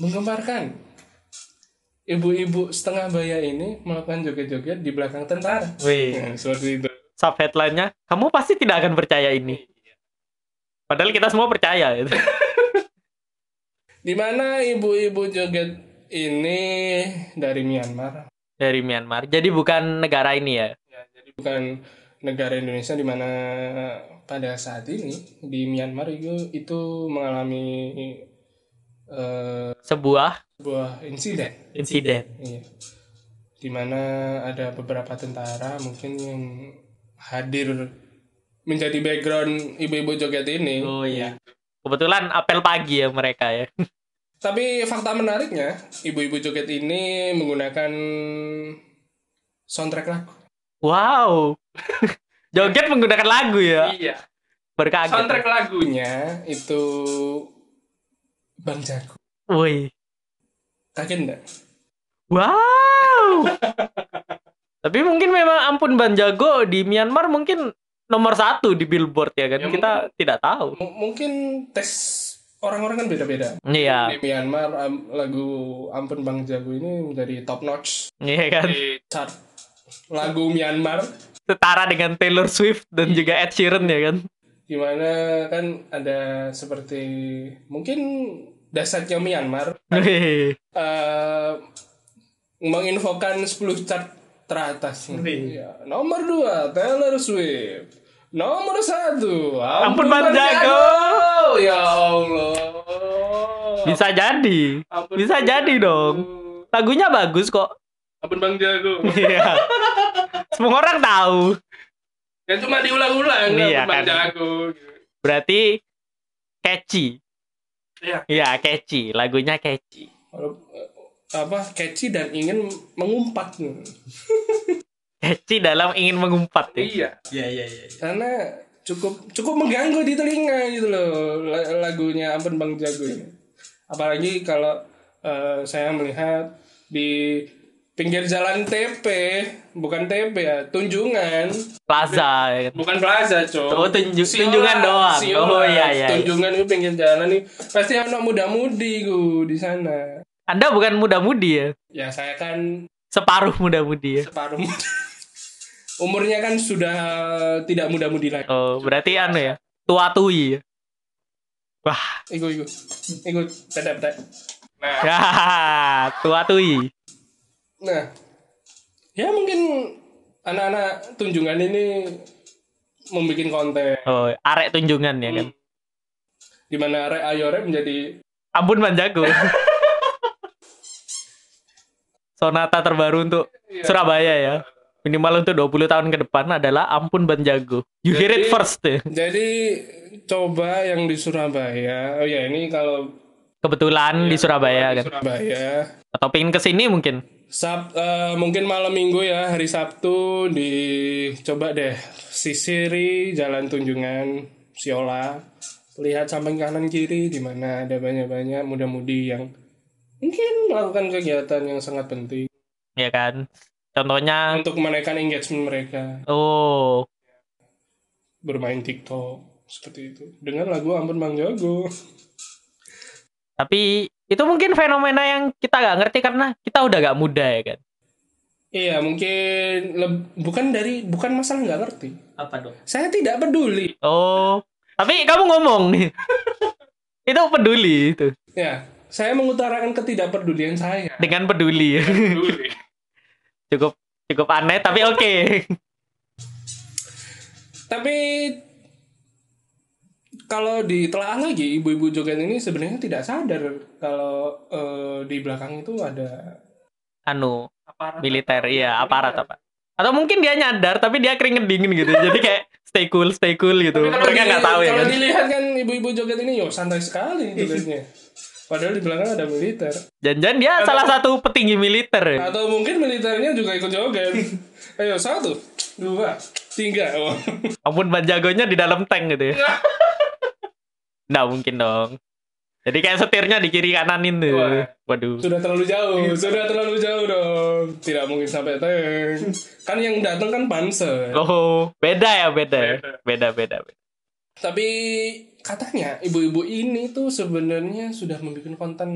Speaker 1: menggemparkan ibu-ibu setengah baya ini melakukan joget-joget di belakang tentara
Speaker 2: wih
Speaker 1: Nah, seperti itu
Speaker 2: sub headline-nya kamu pasti tidak akan percaya ini padahal kita semua percaya gitu.
Speaker 1: di mana ibu-ibu joget ini dari Myanmar
Speaker 2: dari Myanmar jadi bukan negara ini ya
Speaker 1: Ya, jadi bukan negara Indonesia di mana pada saat ini di Myanmar itu, itu mengalami eh,
Speaker 2: sebuah
Speaker 1: sebuah insiden,
Speaker 2: insiden
Speaker 1: iya. di mana ada beberapa tentara mungkin yang hadir menjadi background ibu-ibu joget ini.
Speaker 3: oh iya
Speaker 2: kebetulan apel pagi ya mereka ya
Speaker 1: Tapi fakta menariknya, ibu-ibu joget ini menggunakan soundtrack lagu.
Speaker 2: wow joget menggunakan lagu ya
Speaker 1: Iya. ya.
Speaker 2: berkaget
Speaker 1: Soundtrack lagunya itu Bang Jago.
Speaker 2: woi
Speaker 1: Kaget nggak?
Speaker 2: wow tapi mungkin memang ampun Banjago di Myanmar mungkin nomor satu di billboard ya kan
Speaker 1: Ya,
Speaker 2: kita tidak tahu
Speaker 1: M- mungkin tes orang-orang kan beda-beda.
Speaker 2: iya
Speaker 1: Di Myanmar am- lagu Ampun Bang Jago ini menjadi top notch
Speaker 2: iya kan
Speaker 1: di chart lagu Myanmar
Speaker 2: setara dengan Taylor Swift
Speaker 1: Iya.
Speaker 2: dan juga Ed Sheeran ya kan
Speaker 1: dimana kan ada seperti mungkin dasarnya Myanmar
Speaker 2: Wih.
Speaker 1: eh, menginfokan 10 chart teratas.
Speaker 3: Wih.
Speaker 1: Ya, nomor 2 Taylor Swift. Nomor 1
Speaker 2: Ampun Bang Jago.
Speaker 1: Ya Allah.
Speaker 2: bisa jadi
Speaker 1: Ampun
Speaker 2: Bisa
Speaker 1: Bang
Speaker 2: jadi
Speaker 1: Jago.
Speaker 2: dong. lagunya bagus kok
Speaker 1: Ampun Bang Jago.
Speaker 2: Iya. Semua orang tahu.
Speaker 1: Dan cuma diulang-ulang
Speaker 2: Iya,
Speaker 1: Ampun Bang
Speaker 2: kan.
Speaker 1: Jago. gitu.
Speaker 2: Berarti catchy.
Speaker 1: Iya.
Speaker 2: Iya, catchy. Lagunya catchy.
Speaker 1: Walau- eh, apa catchy dan ingin mengumpat
Speaker 2: Catchy dalam ingin mengumpat ya.
Speaker 1: iya
Speaker 3: iya iya iya iya.
Speaker 1: karena cukup cukup mengganggu di telinga gitu loh la- lagunya Ampun Bang Jago ini. Apalagi kalau eh, saya melihat di pinggir jalan TP, bukan TP ya, tunjungan,
Speaker 2: Plaza. ya kan.
Speaker 1: bukan plaza, Cok.
Speaker 2: Oh, tunju-
Speaker 1: Siola,
Speaker 2: tunjungan doang.
Speaker 1: Siola.
Speaker 2: Oh, iya, iya, iya.
Speaker 1: Tunjungan itu pinggir jalan nih pasti anak muda-mudi ku di sana.
Speaker 2: Anda bukan muda-mudi ya.
Speaker 1: Ya saya kan
Speaker 2: Separuh muda-mudi ya.
Speaker 1: separuh muda. Umurnya kan sudah tidak muda-mudi lagi.
Speaker 2: Oh, berarti anu ya. Tua-tui ya. Wah,
Speaker 1: Iku iku. Iku tetap tetap. Nah,
Speaker 2: tua-tui.
Speaker 1: Nah, ya mungkin anak-anak tunjungan ini membuat konten
Speaker 2: Oh, arek tunjungan ya kan.
Speaker 1: di mana re ayo Re menjadi
Speaker 3: Hmm.
Speaker 2: Ampun Manjago. Sonata terbaru untuk
Speaker 3: Iya.
Speaker 2: Surabaya ya. Minimal untuk 20 tahun ke depan adalah Ampun Banjago. You hear it
Speaker 1: Jadi-
Speaker 2: first ya.
Speaker 1: jadi coba yang di Surabaya oh ya ini kalau
Speaker 2: Kebetulan di Surabaya
Speaker 1: Iya, di
Speaker 2: kan.
Speaker 1: Surabaya
Speaker 2: Atau pengen ke sini mungkin.
Speaker 1: Sab, eh, mungkin malam minggu ya hari Sabtu di coba deh sisiri jalan Tunjungan Siola lihat samping kanan kiri di mana ada banyak-banyak muda-mudi yang mungkin melakukan kegiatan yang sangat penting
Speaker 2: Ya kan. Contohnya
Speaker 1: untuk menaikkan engagement mereka
Speaker 2: oh,
Speaker 1: bermain TikTok seperti itu dengan lagu Ampun Bang Jago
Speaker 2: tapi itu mungkin fenomena yang kita nggak ngerti karena kita udah gak muda ya kan.
Speaker 1: iya mungkin leb- bukan dari bukan masalah nggak ngerti
Speaker 3: apa dong
Speaker 1: saya tidak peduli
Speaker 2: Oh. Tapi kamu ngomong nih. itu peduli itu.
Speaker 1: ya saya mengutarakan ketidakpedulian saya
Speaker 2: Dengan peduli.
Speaker 1: Iya, peduli
Speaker 2: cukup cukup aneh tapi oke.
Speaker 1: tapi kalau ditelaah lagi ibu-ibu joget ini sebenarnya tidak sadar kalau eh, di belakang itu ada
Speaker 2: Anu,
Speaker 1: aparat
Speaker 2: militer iya aparat apa atau mungkin dia nyadar tapi dia keringet dingin gitu jadi kayak stay cool stay cool
Speaker 1: Tapi
Speaker 2: gitu
Speaker 1: kalau
Speaker 2: mereka
Speaker 1: di-
Speaker 2: nggak tahu ya
Speaker 1: kalau
Speaker 2: kan
Speaker 1: dilihat kan ibu-ibu joget ini yo santai sekali jogetnya padahal di belakang ada militer
Speaker 2: jangan-jangan dia salah satu petinggi militer ya.
Speaker 1: atau mungkin militernya juga ikut joget ayo satu dua tiga Oh.
Speaker 2: ampun ban jagonya di dalam tank gitu ya nggak mungkin dong jadi kayak setirnya di kiri kananin tuh
Speaker 1: Wah.
Speaker 2: waduh
Speaker 1: sudah terlalu jauh sudah terlalu jauh dong tidak mungkin sampai tank kan yang datang kan panser
Speaker 2: oh beda ya beda ya beda beda, beda.
Speaker 1: Tapi katanya ibu-ibu ini tuh sebenarnya sudah membuat konten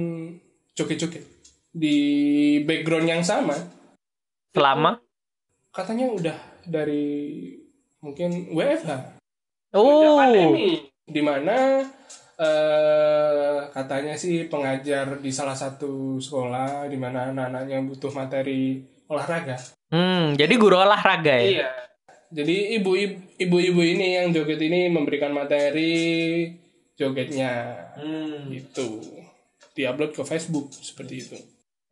Speaker 1: joget-joget di background yang sama.
Speaker 2: selama
Speaker 1: Katanya udah dari mungkin WFH. Sejak
Speaker 2: oh
Speaker 1: pandemi. Di mana eh, katanya sih pengajar di salah satu sekolah di mana anak-anaknya butuh materi olahraga.
Speaker 2: hmm jadi guru olahraga ya
Speaker 1: Iya. Jadi ibu ibu-ibu ini yang joget ini memberikan materi jogetnya.
Speaker 3: Hmm.
Speaker 1: gitu diupload ke Facebook seperti itu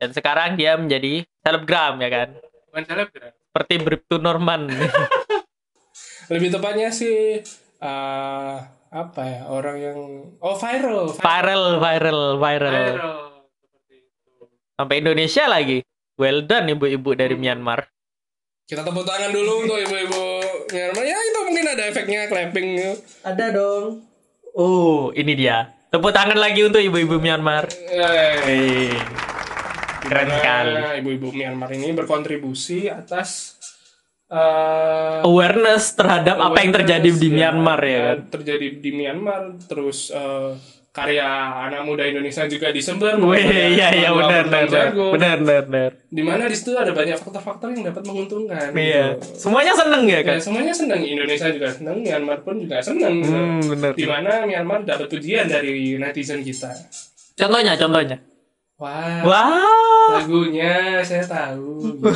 Speaker 2: dan sekarang dia menjadi selebgram ya kan
Speaker 1: bukan selebgram
Speaker 2: seperti Bripto Norman
Speaker 1: lebih tepatnya sih eh, apa ya orang yang oh viral
Speaker 2: viral viral viral sampai Indonesia lagi well done ibu-ibu dari Myanmar
Speaker 1: kita tepuk tangan dulu untuk ibu-ibu Myanmar ya itu mungkin ada efeknya clapping ya.
Speaker 3: Ada dong.
Speaker 2: oh ini dia tepuk tangan lagi untuk ibu-ibu Myanmar
Speaker 1: Eh,
Speaker 2: Hei, keren
Speaker 1: karena
Speaker 2: sekali.
Speaker 1: ibu-ibu Myanmar ini berkontribusi atas eh,
Speaker 2: Awareness terhadap Oh, apa yang terjadi di
Speaker 1: awareness
Speaker 2: Myanmar ya kan.
Speaker 1: terjadi di Myanmar terus eh, karya anak muda Indonesia juga disebar
Speaker 2: Wih, iya iya benar benar
Speaker 1: Lagu-lagu
Speaker 2: benar.
Speaker 1: jago.
Speaker 2: benar benar benar.
Speaker 1: di mana di situ ada banyak faktor-faktor yang dapat menguntungkan.
Speaker 2: Iya,
Speaker 1: Gitu.
Speaker 2: semuanya seneng ya
Speaker 1: Ya,
Speaker 2: kan.
Speaker 1: semuanya senang Indonesia juga senang, Myanmar pun juga senang. gitu.
Speaker 2: Hmm, benar.
Speaker 1: Di mana Myanmar dapat pujian dari netizen kita.
Speaker 2: Contohnya, contohnya.
Speaker 1: Wah,
Speaker 2: Wah,
Speaker 1: lagunya saya tahu. gitu.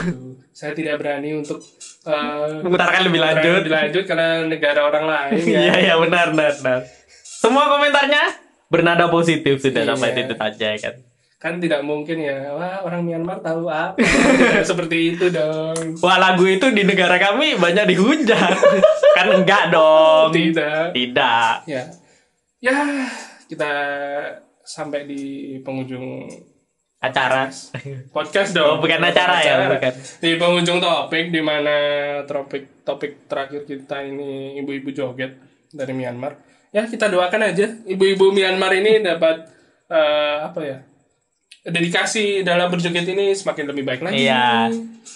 Speaker 1: Saya tidak berani untuk eh,
Speaker 2: Memutarkan lebih lanjut.
Speaker 1: memutarkan lebih lanjut karena negara orang lain. ya.
Speaker 2: iya iya benar benar benar. Semua komentarnya bernada positif sudah sampai
Speaker 1: Iya.
Speaker 2: titik aja ya kan.
Speaker 1: Kan tidak mungkin ya. Wah, orang Myanmar tahu apa? Seperti itu dong.
Speaker 2: Wah lagu itu di negara kami banyak dihujat. kan enggak dong.
Speaker 1: Tidak.
Speaker 2: Tidak.
Speaker 1: ya ya kita sampai di penghujung
Speaker 2: Acara.
Speaker 1: podcast dong
Speaker 2: Oh, bukan acara ya, bukan.
Speaker 1: di penghujung topik di mana topik topik terakhir kita ini ibu-ibu joget dari Myanmar ya kita doakan aja ibu-ibu Myanmar ini dapat eh, apa ya dedikasi dalam berjoget ini semakin lebih baik lagi
Speaker 2: Iya.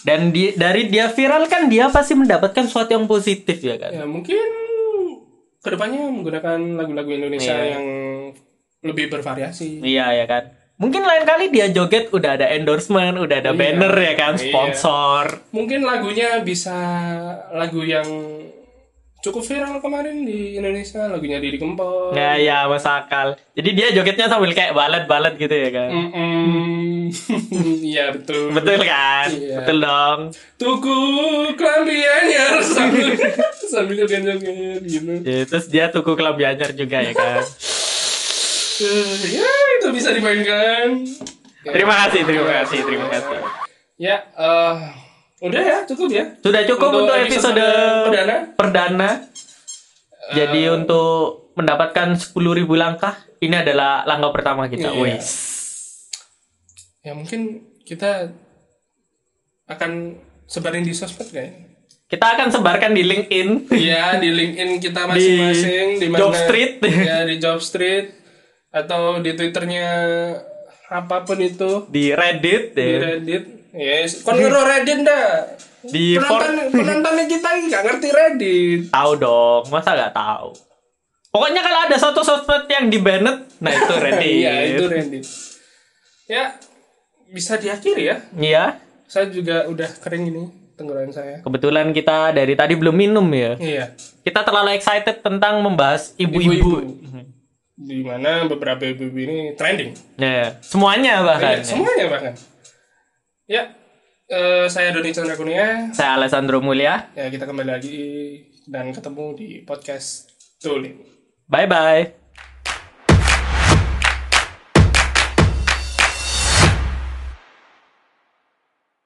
Speaker 2: Dan di- dari dia viral kan dia pasti mendapatkan sesuatu yang positif ya kan.
Speaker 1: ya mungkin kedepannya menggunakan lagu-lagu Indonesia
Speaker 2: Iya.
Speaker 1: yang lebih bervariasi
Speaker 2: Iya ya kan. Mungkin lain kali dia joget udah ada endorsement, udah ada
Speaker 1: Iya.
Speaker 2: banner ya kan,
Speaker 1: Iya.
Speaker 2: sponsor.
Speaker 1: mungkin lagunya bisa lagu yang cukup viral kemarin di Indonesia lagunya Didi Kempot
Speaker 2: Ya ya masakal. Jadi dia jogetnya sambil kayak balet-balet gitu ya kan.
Speaker 1: Mm-mm. iya betul
Speaker 2: Betul kan?
Speaker 1: Iya.
Speaker 2: Betul dong.
Speaker 1: tuku kelambi anyar sambil sambil joget-joget gitu
Speaker 2: Ya, terus dia tuku kelambi anyar juga ya kan.
Speaker 1: Eh, ya itu bisa dimainkan Ya.
Speaker 2: terima kasih, terima kasih, terima kasih.
Speaker 1: ya eh, udah ya cukup ya
Speaker 2: Sudah cukup untuk, episode,
Speaker 1: perdana Eh.
Speaker 2: perdana. Jadi untuk mendapatkan 10.000 langkah, ini adalah langkah pertama kita.
Speaker 1: Iya.
Speaker 2: Wis.
Speaker 1: ya mungkin kita akan sebarin di sosmed kayaknya
Speaker 2: Kita akan sebarkan di LinkedIn.
Speaker 1: Iya di LinkedIn kita masing-masing
Speaker 2: Di
Speaker 1: mana-
Speaker 2: Job Street.
Speaker 1: Ya di Job Street atau di Twitternya apapun itu
Speaker 2: di Reddit ya.
Speaker 1: di Reddit. Yes, kon ngero Reddit dah.
Speaker 2: Di
Speaker 1: penonton penontonnya kita ini nggak ngerti Reddit.
Speaker 2: Tahu dong, masa nggak tahu? Pokoknya kalau ada satu sosmed yang di banned, nah itu Reddit.
Speaker 1: Iya itu Reddit. Ya bisa diakhiri ya.
Speaker 2: Iya.
Speaker 1: Saya juga udah kering ini tenggorokan saya.
Speaker 2: Kebetulan kita dari tadi belum minum ya.
Speaker 1: Iya.
Speaker 2: Kita terlalu excited tentang membahas ibu-ibu.
Speaker 1: Di mana beberapa ibu ini trending.
Speaker 2: Nah, semuanya
Speaker 1: Iya,
Speaker 2: bahkan.
Speaker 1: semuanya bahkan. Ya, eh, saya Doni Chandra Kunia.
Speaker 2: Saya Alessandro Mulia.
Speaker 1: Ya, kita kembali lagi dan ketemu di podcast Tuling.
Speaker 2: Bye bye.